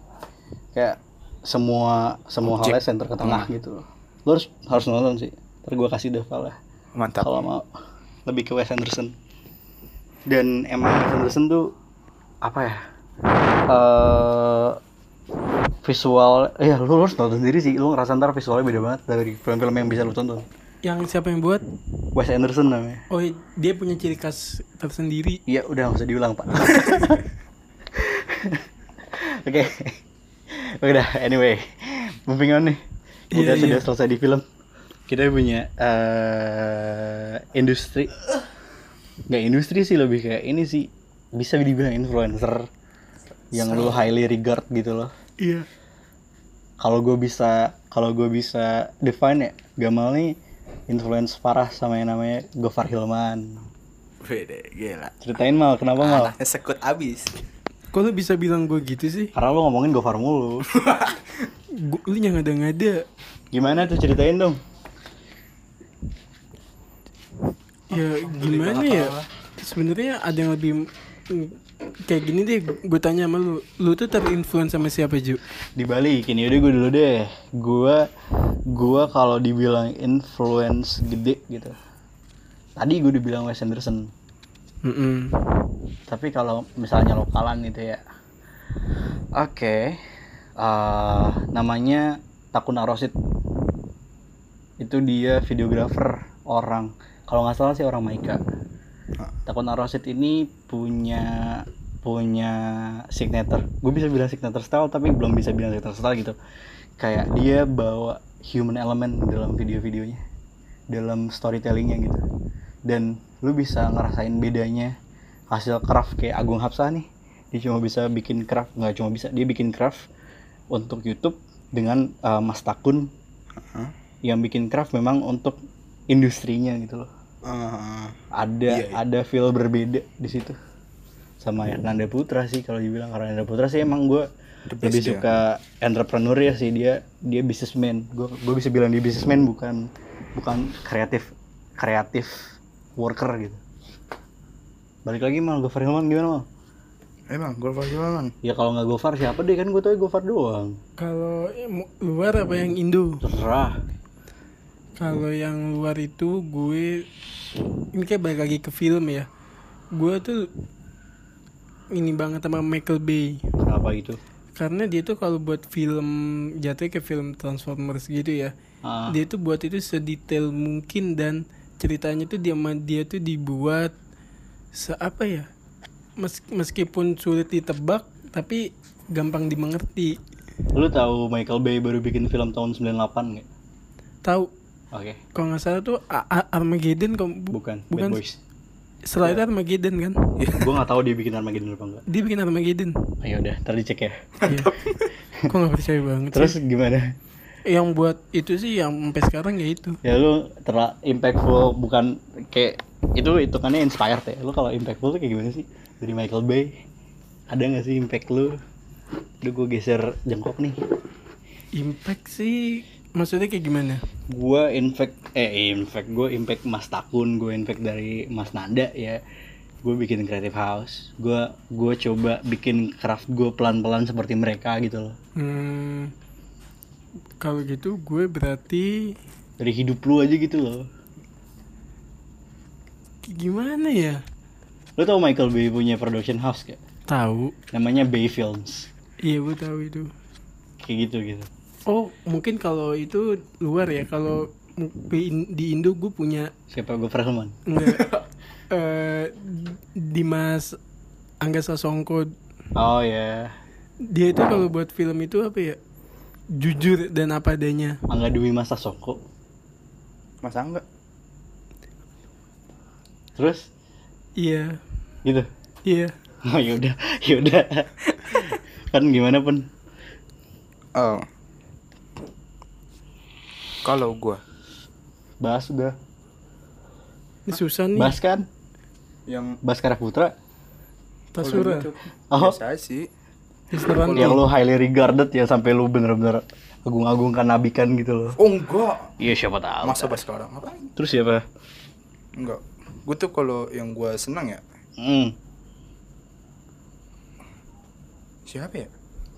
S1: kayak semua semua halnya center ke tengah gitu loh lo harus harus nonton sih ntar gue kasih deh file-nya
S2: Mantap.
S1: kalau mau lebih ke Wes Anderson dan emang Wes Anderson tuh apa ya Eh visual ya lu harus nonton sendiri sih lu ngerasa ntar visualnya beda banget dari film-film yang bisa lu tonton
S3: Yang siapa yang buat?
S1: Wes Anderson namanya
S3: Oh, dia punya ciri khas tersendiri.
S1: iya udah nggak usah diulang pak oke udah anyway moving on nih kita
S3: Iya,
S1: sudah
S3: iya.
S1: selesai di film kita punya eh industri nggak industri sih lebih kayak ini sih bisa dibilang influencer yang lu highly regard gitu loh
S3: Iya.
S1: kalau gue bisa kalau gue bisa define ya Gamal nih influence parah sama yang namanya Gofar Hilman
S2: Beda, gila.
S1: ceritain mal kenapa mal
S2: Anaknya sekut abis.
S3: Kok lu bisa bilang gue gitu sih?
S1: karena lo ngomongin Gofar mulu
S3: Gua, lu yang ngada-ngada.
S1: gimana tuh ceritain dong
S3: Ya gimana ya? Sebenarnya ada yang lebih mm, kayak gini deh. Gue tanya sama lu, lu tuh terinfluence sama siapa Ju?
S1: dibalikin yaudah gue dulu deh gue gue kalau dibilang influence gede gitu tadi gue dibilang Wes Anderson
S3: Mm-mm.
S1: tapi kalau misalnya lokalan gitu ya oke eh, namanya Takuna Rosid itu dia videographer orang kalau nggak salah sih orang Maika Takuna Rosid ini punya punya signature gue bisa bilang signature style tapi belum bisa bilang signature style gitu kayak dia bawa human element dalam video-videonya dalam storytellingnya gitu dan lu bisa ngerasain bedanya hasil craft kayak Agung Hapsah nih dia cuma bisa bikin craft nggak cuma bisa dia bikin craft untuk YouTube dengan eh, Mas Takun
S2: Hah?
S1: yang bikin craft memang untuk industrinya gitu loh
S2: Ah,
S1: ada ada feel berbeda di situ sama Hernanda Putra sih kalau dibilang karena Hernanda Putra sih emang gue
S2: Iya. The best
S1: lebih
S2: dia.
S1: suka entrepreneur ya sih dia dia businessman gue gue bisa bilang dia businessman bukan bukan kreatif kreatif worker gitu balik lagi mal gue Hilman gimana mal
S2: Emang Golfar siapa emang?
S1: Ya kalau nggak Gofar siapa deh kan gue tau Gofar doang.
S3: Kalau eh, mu- luar apa yang Indo?
S1: Terserah.
S3: Kalau yang luar itu gue ini kayak balik lagi ke film ya. Gue tuh ini banget sama Michael Bay
S1: Kenapa itu?
S3: karena dia tuh kalau buat film jatuhnya ke film Transformers gitu ya.
S1: Ah.
S3: Dia tuh buat itu sedetail mungkin dan ceritanya tuh dia dia tuh dibuat seapa ya? Mes- meskipun sulit ditebak tapi gampang dimengerti.
S1: Lu tahu Michael Bay baru bikin film tahun 98 nggak?
S3: Tahu
S1: Oke,
S3: kalau nggak salah tuh A- A- Armageddon kok bu-
S1: bukan, Bad
S3: bukan
S1: Boys. ya.
S3: setelah itu Armageddon kan
S1: gue nggak tahu dia bikin Armageddon apa enggak.
S3: dia bikin Armageddon
S1: Ayo udah, ntar dicek ya.
S3: Iya. kok nggak percaya banget sih?
S1: Terus gimana?
S3: yang buat itu sih yang sampai sekarang ya itu
S1: Ya lu terlalu impactful bukan kayak itu hitungannya inspired ya. Lu kalau impactful tuh kayak gimana sih? Dari Michael Bay. Ada nggak sih impact lu? Aduh gue geser jengkok nih.
S3: impact sih maksudnya kayak gimana
S1: Gua infect eh infect gue impact Mas Takun, gue impact dari Mas Nanda ya. Gue bikin creative house. Gue gue coba bikin craft gue pelan-pelan seperti mereka gitu loh.
S3: hmm, kalau gitu gue berarti
S1: Dari hidup lu aja gitu loh.
S3: kayak gimana ya
S1: Lu tau Michael Bay punya production house gak?
S3: tahu
S1: Namanya Bay Films.
S3: iya gue tahu itu
S1: Kayak gitu gitu.
S3: oh mungkin kalau itu luar ya kalau mu- di Indo gue punya
S1: Siapa gue Helman?
S3: Enggak. Eh, Dimas Angga Sasongko
S1: Oh ya,
S3: dia itu kalau buat film itu apa ya jujur dan apa adanya
S1: Angga Dwi Masa Songko.
S2: Mas Angga.
S1: Terus
S3: iya
S1: gitu.
S3: iya
S1: Oh yaudah, yaudah. kan gimana pun.
S2: Oh. Kalau gua
S1: Bahas udah.
S3: ini susah nih
S1: Bahas kan?
S2: yang
S1: Bahas Kara Putra.
S3: Tasura
S1: Oh.
S2: biasa sih.
S3: Mister
S1: Yang
S3: Ranti
S1: lu highly regarded ya sampai lu bener-bener agung-agungkan nabikan gitu loh.
S2: Oh enggak.
S1: Iya siapa tahu.
S2: Masa bahas sekarang apa?
S1: Terus siapa?
S2: Enggak. Gua tuh kalau yang gua senang ya
S1: Hmm.
S2: siapa ya?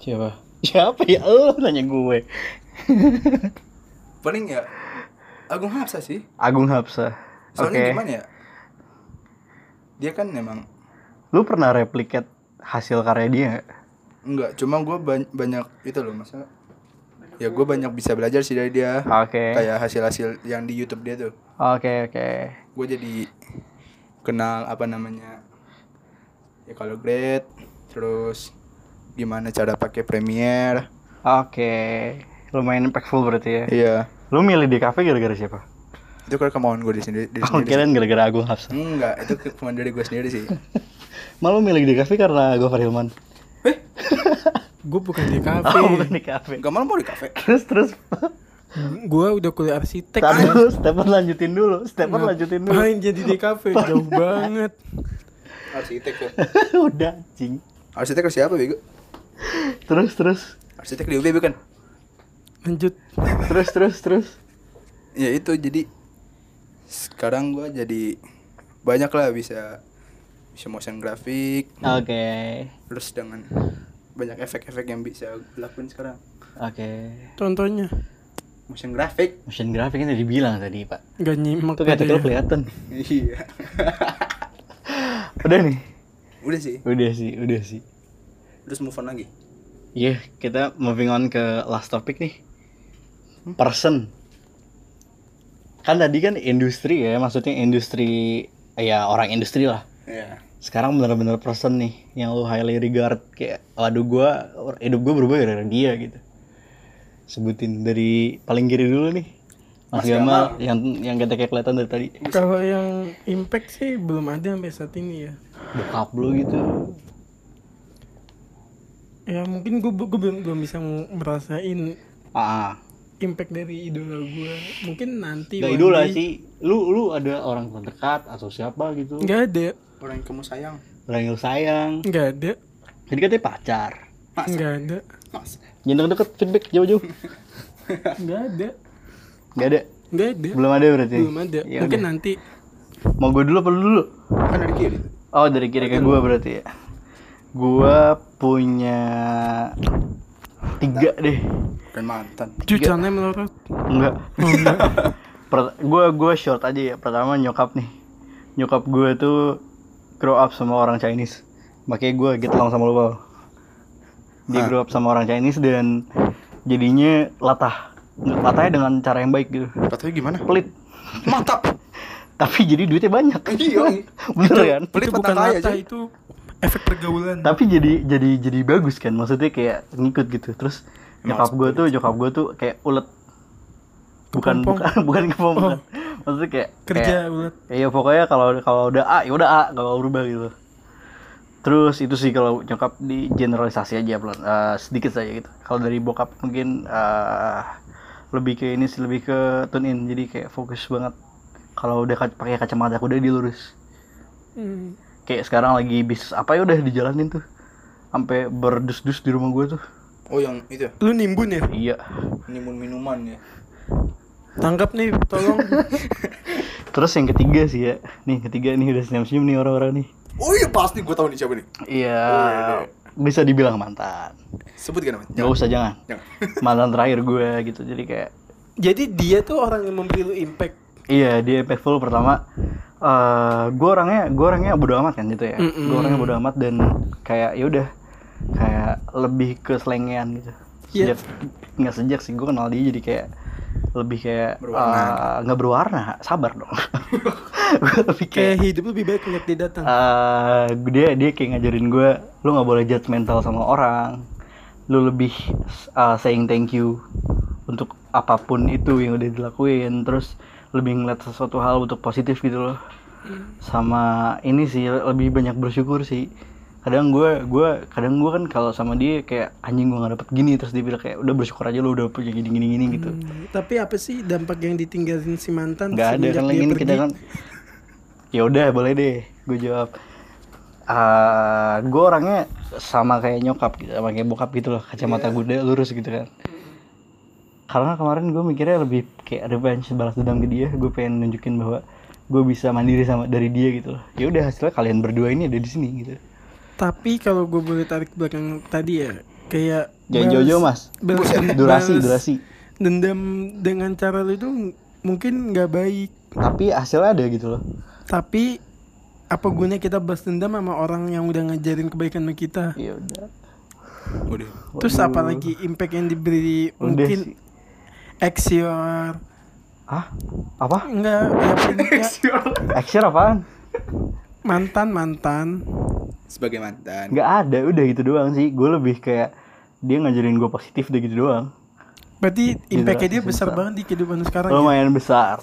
S1: Siapa? Siapa ya? Lu nanya gue.
S2: Paling ya Agung Hapsa sih.
S1: Agung Hapsa. Oke.
S2: Soalnya gimana ya? Dia kan memang
S1: Lu pernah replicate hasil karya dia nggak?
S2: enggak, cuma gua ban- banyak itu loh masa ya gua banyak bisa belajar sih dari dia.
S1: Oke.
S2: Kayak hasil-hasil yang di YouTube dia tuh.
S1: Oke, oke.
S2: gue jadi kenal apa namanya ya kalau grade terus gimana cara pakai Premiere
S1: Oke. Lumayan impactful berarti ya.
S2: iya
S1: Lu milih di kafe gara-gara siapa?
S2: itu kan kemauan gue di sendiri di
S1: Aku
S2: sendiri
S1: kirain gara-gara Agung Hapsa.
S2: enggak itu ke- kemauan dari gue sendiri sih
S1: Malu milih di kafe karena Gofar Hilman.
S3: gue bukan di kafe
S1: Oh, bukan di kafe.
S2: enggak malah mau di kafe
S1: Terus terus.
S3: gue udah kuliah arsitek
S1: Tar dulu, Stefan lanjutin dulu. Stefan lanjutin dulu.
S3: Nah, main jadi di kafe jauh banget
S2: arsitek ya
S1: Udah, cing.
S2: arsitek siapa bego
S1: Terus terus.
S2: arsitek di UB bukan
S3: lanjut
S1: Terus terus terus.
S2: ya itu jadi sekarang gue jadi banyak lah bisa bisa motion grafik
S1: Oke.
S2: terus dengan banyak efek-efek yang bisa gue lakuin sekarang
S1: Oke.
S3: contohnya
S2: motion grafik
S1: Motion graphic kan tadi bilang tadi, Pak.
S3: gak nyimak ya.
S1: Tuh kayak
S3: padahal.
S1: lu kelihatan.
S2: iya
S1: Udah nih.
S2: udah sih
S1: Udah sih, udah sih.
S2: terus move on lagi
S1: Iya, kita moving on ke last topic nih. Person. Kan tadi kan industri ya, maksudnya industri ya orang industri lah.
S2: ya
S1: Sekarang bener-bener person nih yang lu highly regard kayak waduh gua hidup gua berubah gara-gara dia gitu. Sebutin dari paling kiri dulu nih. Mas,
S2: Mas
S1: Gamal,
S2: Gamal.
S1: yang yang kita kayak kelihatan dari tadi
S3: kalau yang impact sih belum ada sampai saat ini ya
S1: bokap lu gitu.
S3: ya mungkin gue belum belum bisa merasain
S1: Ah,
S3: impact dari idola gue mungkin nanti
S1: enggak
S3: one
S1: idola
S3: day.
S1: sih. Lu lu ada orang terdekat atau siapa gitu?
S3: nggak ada
S2: orang yang kamu sayang
S1: Orang yang lu sayang.
S3: nggak ada
S1: Jadi katanya pacar.
S3: nggak ada
S2: mas
S1: Jangan deket feedback jauh-jauh.
S3: nggak ada
S1: Gak ada.
S3: nggak ada
S1: Belum ada berarti.
S3: belum ada
S1: Ya
S3: mungkin
S1: udah.
S3: nanti
S1: Mau gue dulu apa lu dulu?
S2: kan dari kiri
S1: Oh dari kiri ke gue berarti ya. Gua punya tiga deh.
S2: Bukan mantan.
S3: Cuy celananya melorot.
S1: Enggak.
S3: Oh, enggak.
S1: Per- gua gua short aja ya. Pertama nyokap nih. Nyokap gua tuh grow up sama orang Chinese. Makanya gua get along sama lu, Bal.
S3: Ah.
S1: Dia grow up sama orang Chinese dan jadinya latah. Latahnya dengan cara yang baik gitu.
S2: Katanya gimana?
S1: Pelit.
S2: Mantap.
S1: Tapi jadi duitnya banyak.
S2: Iya.
S1: Bener kan?
S2: Pelit
S3: itu bukan
S2: mata kaya,
S3: rata,
S2: cuy.
S3: itu efek pergaulan.
S1: tapi jadi jadi jadi bagus kan maksudnya kayak ngikut gitu terus nyokap gue tuh nyokap gue tuh kayak ulet bukan
S3: Kepompong.
S1: bukan bukan kepompong
S3: Oh.
S1: bukan. maksudnya kayak
S3: Kerja
S1: kayak-
S3: ulat.
S1: iya pokoknya kalau kalau udah A ya udah A kalau berubah gitu terus itu sih kalau nyokap di generalisasi aja pelan eh, sedikit saja gitu kalau dari bokap mungkin eh, lebih ke ini sih lebih ke tune in jadi kayak fokus banget kalau udah kac- pakai kacamata udah dilurus
S3: Hmm.
S1: kayak sekarang lagi bisnis apa ya udah dijalanin tuh sampai berdus-dus di rumah gue tuh
S2: Oh yang itu ya?
S3: Lu nimbun ya?
S1: iya
S2: Nimun minuman ya.
S3: Tangkap nih, tolong.
S1: terus yang ketiga sih ya nih ketiga nih udah senyum-senyum nih orang-orang nih
S2: Oh iya pasti gue tahu nih siapa nih.
S1: iya bisa dibilang mantan
S2: Sebut gak namanya?
S1: nggak usah jangan
S2: Jangan.
S1: mantan terakhir gue gitu jadi kayak
S3: Jadi dia tuh orang yang memberi lu impact.
S1: iya dia impactful pertama eh gue orangnya gue orangnya bodo amat kan gitu ya
S3: Mm-mm.
S1: gue orangnya bodo amat dan kayak ya udah kayak lebih ke selengean gitu
S3: Iya.
S1: sejak nggak sejak sih gue kenal dia jadi kayak lebih kayak
S2: Berwarna.
S1: eh, nggak berwarna sabar dong gue lebih kayak
S3: Kayak hidup lebih baik ngeliat dia datang.
S1: eh dia dia kayak ngajarin gue lu nggak boleh judgmental sama orang lu lebih eh, saying thank you untuk apapun itu yang udah dilakuin terus lebih ngeliat sesuatu hal untuk positif gitu loh sama ini sih lebih banyak bersyukur sih kadang gue gua kadang gue kan kalau sama dia kayak anjing gue nggak dapet gini terus dia bilang kayak udah bersyukur aja lu udah punya gini gini gini gitu
S3: Hmm, Tapi apa sih dampak yang ditinggalin si mantan?
S1: nggak ada
S3: semenjak
S1: kan
S3: dia
S1: lagi ini kita
S3: pergi?
S1: kan ya udah boleh deh gue jawab ah gue orangnya sama kayak nyokap gitu sama kayak bokap gitu loh kacamata
S3: Iya.
S1: gue udah lurus gitu kan karena kemarin gue mikirnya lebih kayak revenge balas dendam ke dia gue pengen nunjukin bahwa gue bisa mandiri sama dari dia gitu loh ya udah hasilnya kalian berdua ini ada di sini gitu
S3: Tapi kalau gue boleh tarik ke belakang tadi ya, kayak
S1: jangan
S3: balas-
S1: jauh-jauh mas
S3: balas-
S1: durasi
S3: balas
S1: durasi
S3: Dendam dengan cara lu itu mungkin nggak baik,
S1: tapi hasilnya ada gitu loh
S3: tapi apa gunanya kita balas dendam sama orang yang udah ngajarin kebaikan sama kita?
S1: ya udah
S2: Udah.
S3: Terus apa lagi impact yang diberi
S1: Udah sih.
S3: mungkin Exior
S1: ah apa
S3: enggak ya, pokoknya
S1: action apaan
S3: mantan mantan
S2: Sebagai mantan.
S1: nggak ada udah gitu doang sih gue lebih kayak dia ngajarin gue positif udah gitu doang Iya,
S3: berarti impactnya dia
S1: Generasi
S3: besar
S1: besar.
S3: banget di kehidupan lu sekarang ya?
S1: lumayan besar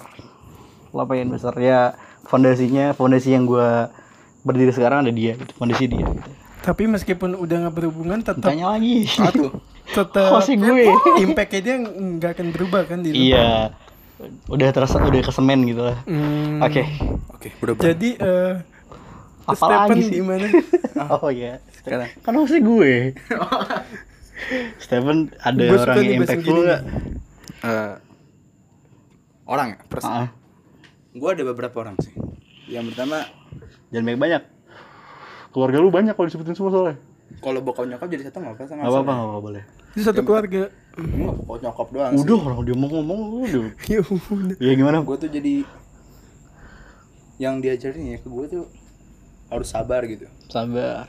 S1: lumayan besar ya fondasinya fondasi yang gue berdiri sekarang ada dia gitu fondasi dia gitu.
S3: tapi meskipun udah nggak berhubungan tetap
S1: tanya lagi
S2: Satu.
S3: tetap ya,
S1: Hostnya gue.
S3: impactnya dia nggak akan berubah kan di lu?
S1: iya udah terasa udah kesemen gitu lah
S3: Hmm,
S1: oke
S2: Oke, udah berapa?
S3: jadi eh
S1: Apa
S3: Stephen
S1: lagi sih?
S3: gimana
S1: oh ya
S2: Sekarang.
S1: kan maksudnya gue Stephen ada
S3: Gue suka
S1: orang yang
S3: nih bahas yang
S1: impactful
S3: gini
S1: nggak?
S2: Eh, orang ya? Pers-
S1: Ah,
S2: Gue ada beberapa orang sih. Yang pertama,
S1: jangan banyak banyak keluarga lu banyak kalau disebutin semua soalnya
S2: kalau bokap nyokap jadi satu nggak apa-apa.
S1: nggak apa-apa nggak apa-apa, boleh
S3: itu satu keluarga
S2: Gue bokap nyokap doang sih.
S1: udah orang dia mau ngomong udah
S3: ya udah
S1: ya gimana
S2: gue tuh jadi yang diajarin ya ke gue tuh harus sabar gitu
S1: sabar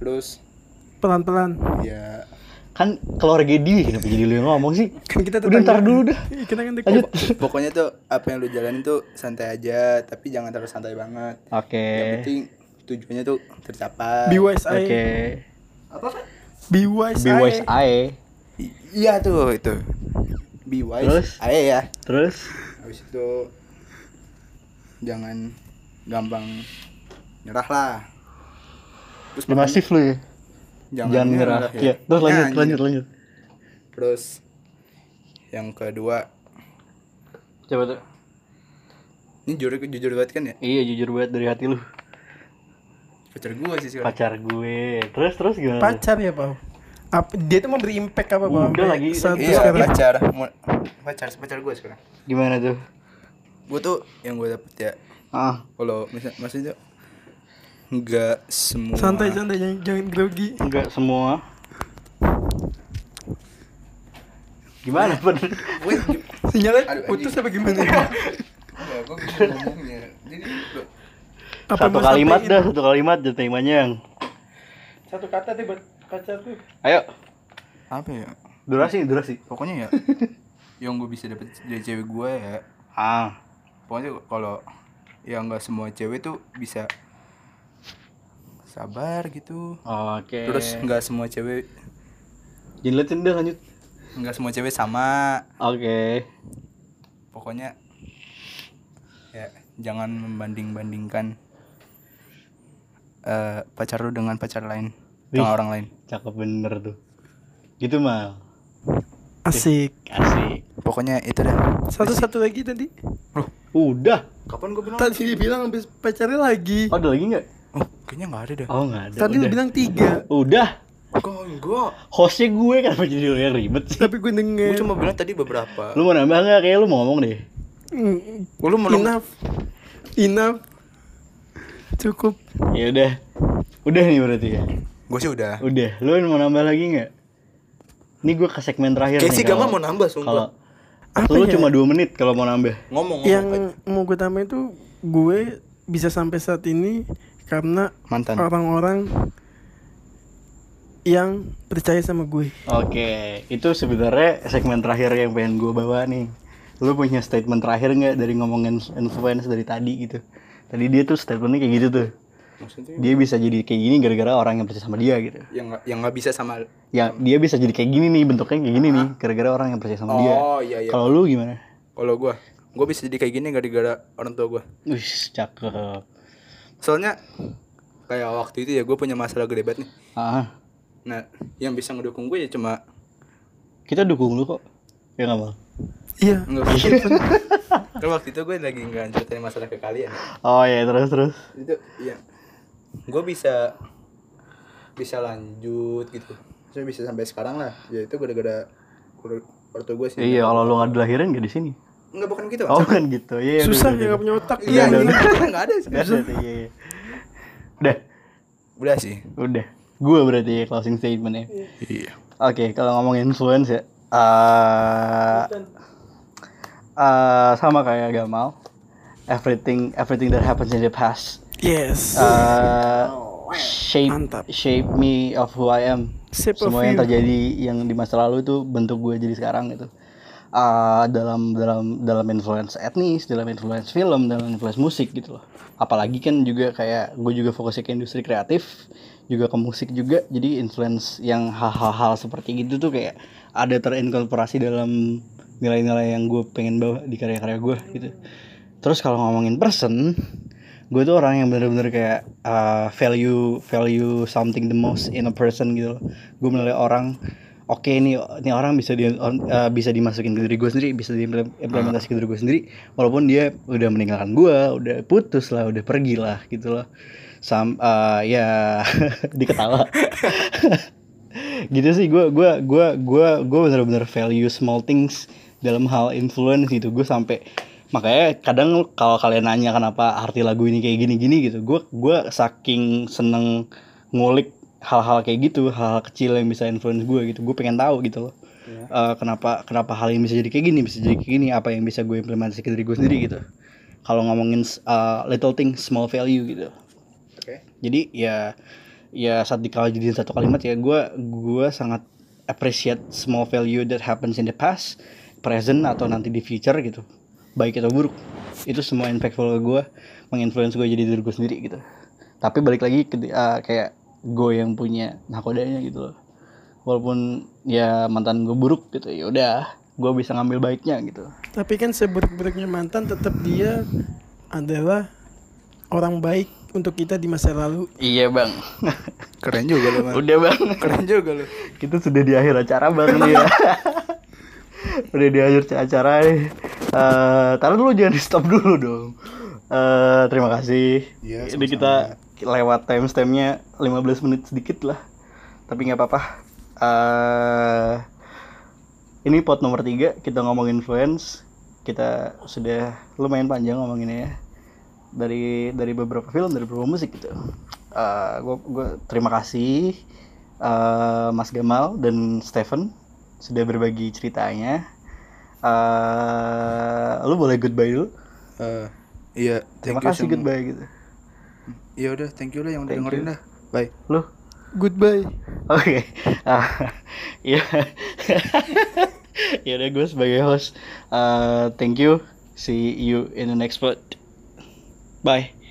S2: terus
S3: pelan pelan
S2: ya
S1: kan keluarga dia kenapa jadi lu yang ngomong sih
S3: kan kita
S1: udah ntar dulu dah
S3: kita kan tetangga.
S1: lanjut
S2: pokoknya tuh apa yang lu jalanin tuh santai aja tapi jangan terlalu santai banget
S1: oke
S2: yang penting tujuannya tuh tercapai
S3: be wise I
S1: oke
S2: apa Pak?
S3: be wise
S1: be wise
S3: I
S1: ae
S2: I- iya tuh itu be wise
S1: Terus?
S2: ayo ya
S1: terus
S2: habis itu jangan gampang nyerah lah terus
S1: lu masif lu ya
S2: jangan,
S1: jangan nyerah ya terus lanjut
S2: Nah,
S1: lanjut lanjut
S2: terus yang kedua
S1: coba tuh
S2: ini jujur jujur banget kan ya
S1: iya jujur banget dari hati lu
S2: pacar gue sih sekarang
S1: pacar gue terus terus gimana tuh?
S3: pacar ya pak apa dia tuh memberi impact apa pak
S1: Udah lagi.
S3: satu
S1: Iya,
S3: sekarang
S2: pacar Mu- pacar pacar gue sekarang
S1: gimana tuh
S2: gue tuh yang gue dapet ya
S1: ah
S2: kalau misal maksudnya nggak
S1: iya.
S2: semua
S3: Santai santai jangan, jangan grogi.
S1: Enggak semua. Gimana pun?
S2: Wait, gi-
S3: Sinyalnya
S2: Aduh,
S3: putus
S2: anjing.
S3: apa gimana?
S2: Nggak, gua bingung ngomongnya. Jadi gua-
S3: Apa
S1: satu
S3: mau
S1: kalimat
S3: sampein?
S1: dah, satu kalimat dah temanya yang.
S3: Satu kata deh buat pacar tuh.
S1: Ayo,
S2: apa ya?
S1: durasi, durasi.
S2: Pokoknya ya yang gue bisa dapet dari cewek gue ya
S1: Ah,
S2: pokoknya kalau yang nggak semua cewek tuh bisa sabar gitu
S1: oke.
S2: terus nggak semua cewek
S1: Jelasin dah lanjut.
S2: nggak semua cewek sama
S1: Oke.
S2: pokoknya ya jangan membanding-bandingkan eh, pacar lu dengan pacar lain dengan
S1: Wih.
S2: orang lain
S1: Cakep bener tuh. Gitu mal.
S3: Asik.
S1: Asik.
S2: pokoknya itu dah
S3: Satu-satu lagi tadi.
S1: Udah.
S2: kapan gue bilang
S3: Tadi dia bilang habis pacarnya lagi.
S1: Oh, ada lagi nggak?
S2: oh kayaknya nggak ada dah
S1: Oh nggak ada.
S3: Tadi
S1: udah.
S3: lu bilang tiga.
S1: Udah.
S2: kok enggak
S1: Hostnya gue kenapa jadi lu yang ribet sih?
S3: Tapi gue
S2: gue
S3: denger.
S2: cuma bilang tadi beberapa
S1: Lu mau nambah nggak? Kayak lu mau ngomong deh.
S3: Mm,
S2: lu mau
S1: Iya.
S3: Enough. Enough. Cukup.
S1: Ya udah. Udah nih berarti ya.
S2: gue sih udah
S1: Udah. Lu mau nambah lagi nggak? Ini gue ke segmen terakhir
S2: Kayak si
S1: nih.
S2: Gama
S1: kalau-
S2: mau nambah,
S1: Iya, Kalau Iya.
S2: sumpah.
S3: Apa
S1: lu
S3: ya?
S1: cuma 2 menit kalau mau nambah.
S2: ngomong, ngomong
S3: Yang mau gue tambahin tuh gue bisa sampai saat ini karena
S2: mantan
S3: orang-orang yang percaya sama gue.
S1: Oke, itu sebenarnya segmen terakhir yang pengen gue bawa nih. Lu punya statement terakhir nggak dari ngomongin influence dari tadi gitu? Tadi dia tuh statementnya kayak gitu tuh.
S2: maksudnya
S1: Dia bisa jadi kayak gini gara-gara orang yang percaya sama dia gitu.
S2: yang nggak- yang nggak bisa sama
S1: Ya, dia bisa jadi kayak gini nih bentuknya kayak gini nih gara-gara orang yang percaya sama dia.
S2: oh iya iya
S1: Kalau lu gimana?
S2: kalau gue gue bisa jadi kayak gini gara-gara orang tua gue
S1: Wih, cakep.
S2: soalnya kayak waktu itu ya gue punya masalah gede banget nih
S1: Ah,
S2: nah yang bisa ngedukung gue ya cuma
S1: kita dukung lu kok. Ya nggak mal.
S3: Iya.
S2: Enggak Kan waktu itu gue lagi nggak ceritain masalah ke kalian.
S1: Oh ya terus terus.
S2: Itu iya. Gue bisa bisa lanjut gitu. Saya bisa sampai sekarang lah. Ya itu gara-gara ortu gue sih.
S1: Iya, kalau lu nggak dilahirin nggak di sini.
S2: Enggak bukan gitu.
S1: Oh kan gitu. Iya. iya,
S3: Susah
S1: udah,
S3: ya
S1: udah,
S3: gak punya otak.
S2: Iya,
S1: udah,
S2: iya.
S1: udah.
S2: Enggak ada sih.
S1: Udah, udah, iya, iya. Udah,
S2: Udah sih.
S1: udah. Gue berarti ya closing statementnya.
S2: Iya.
S1: Oke, kalau ngomongin influence ya, eh, eh, sama kayak Gamal, everything everything that happens in the past
S3: Yes.
S1: eh, shape
S3: Mantap.
S1: shape me of who I am.
S3: Shape of
S1: Semua yang
S3: you.
S1: terjadi yang di masa lalu itu bentuk gue jadi sekarang gitu. Ah, dalam dalam dalam influence etnis, dalam influence film, dalam influence musik gitu loh. Apalagi kan juga kayak gue juga fokusnya ke industri kreatif, juga ke musik juga. Jadi influence yang hal-hal seperti gitu tuh kayak ada terinkorporasi dalam nilai-nilai yang gue pengen bawa di karya-karya gue gitu. Terus kalau ngomongin person, gue tuh orang yang bener-bener kayak uh, value value something the most in a person gitu loh. Gue menilai orang oke nih ini orang bisa di on- uh, bisa dimasukin ke diri gue sendiri bisa diimplementasi ke diri gue sendiri walaupun dia udah meninggalkan gue udah putus lah udah pergi lah gitu loh sam uh, ya diketawa gitu sih gue gua gua gua gua bener-bener value small things dalam hal influence gitu gue sampai makanya kadang kalau kalian nanya kenapa arti lagu ini kayak gini-gini gitu gue gua saking seneng ngulik hal-hal kayak gitu hal-hal kecil yang bisa influence gue gitu gue pengen tahu gitu loh Eh, kenapa kenapa hal ini bisa jadi kayak gini bisa jadi kayak gini apa yang bisa gue implementasi ke diri gue sendiri gitu kalau ngomongin eh, little things small value gitu
S2: Oke.
S1: jadi ya ya saat dikawal jadi satu kalimat ya gue gua sangat appreciate small value that happens in the past present atau nanti di future gitu baik atau buruk itu semua impactful ke gue menginfluence gue jadi diri gue sendiri gitu tapi balik lagi ke eh, kayak gue yang punya nakodanya gitu loh walaupun ya mantan gue buruk gitu ya udah gue bisa ngambil baiknya gitu
S3: Tapi kan seburuk-buruknya mantan tetap dia adalah orang baik untuk kita di masa lalu.
S1: iya bang
S2: Keren juga lu, Man.
S1: udah bang
S2: Keren juga lu.
S1: kita sudah di akhir acara bang nih ya udah di akhir acara nih Eh, taruh dulu jangan di stop dulu dong Eh, terima kasih
S2: Iya,
S1: ini kita lewat timestampnya 15 menit sedikit lah tapi nggak apa-apa Eh, ini pot nomor 3 kita ngomongin influence kita sudah lumayan panjang ngomonginnya ya dari dari beberapa film dari beberapa musik gitu eh gue terima kasih eh, Mas Gamal dan Stephen sudah berbagi ceritanya. Eh lu boleh goodbye dulu.
S2: Eh, iya
S1: Terima kasih
S2: thank you semua.
S1: goodbye gitu.
S2: ya udah thank you lah yang udah
S1: Thank
S2: dengerin
S1: you.
S2: dah bye
S1: Lu
S3: Goodbye.
S1: Oke. Ah, Iya. ya udah gue sebagai ah, host. eh, thank you. See you in the next pod. Bye.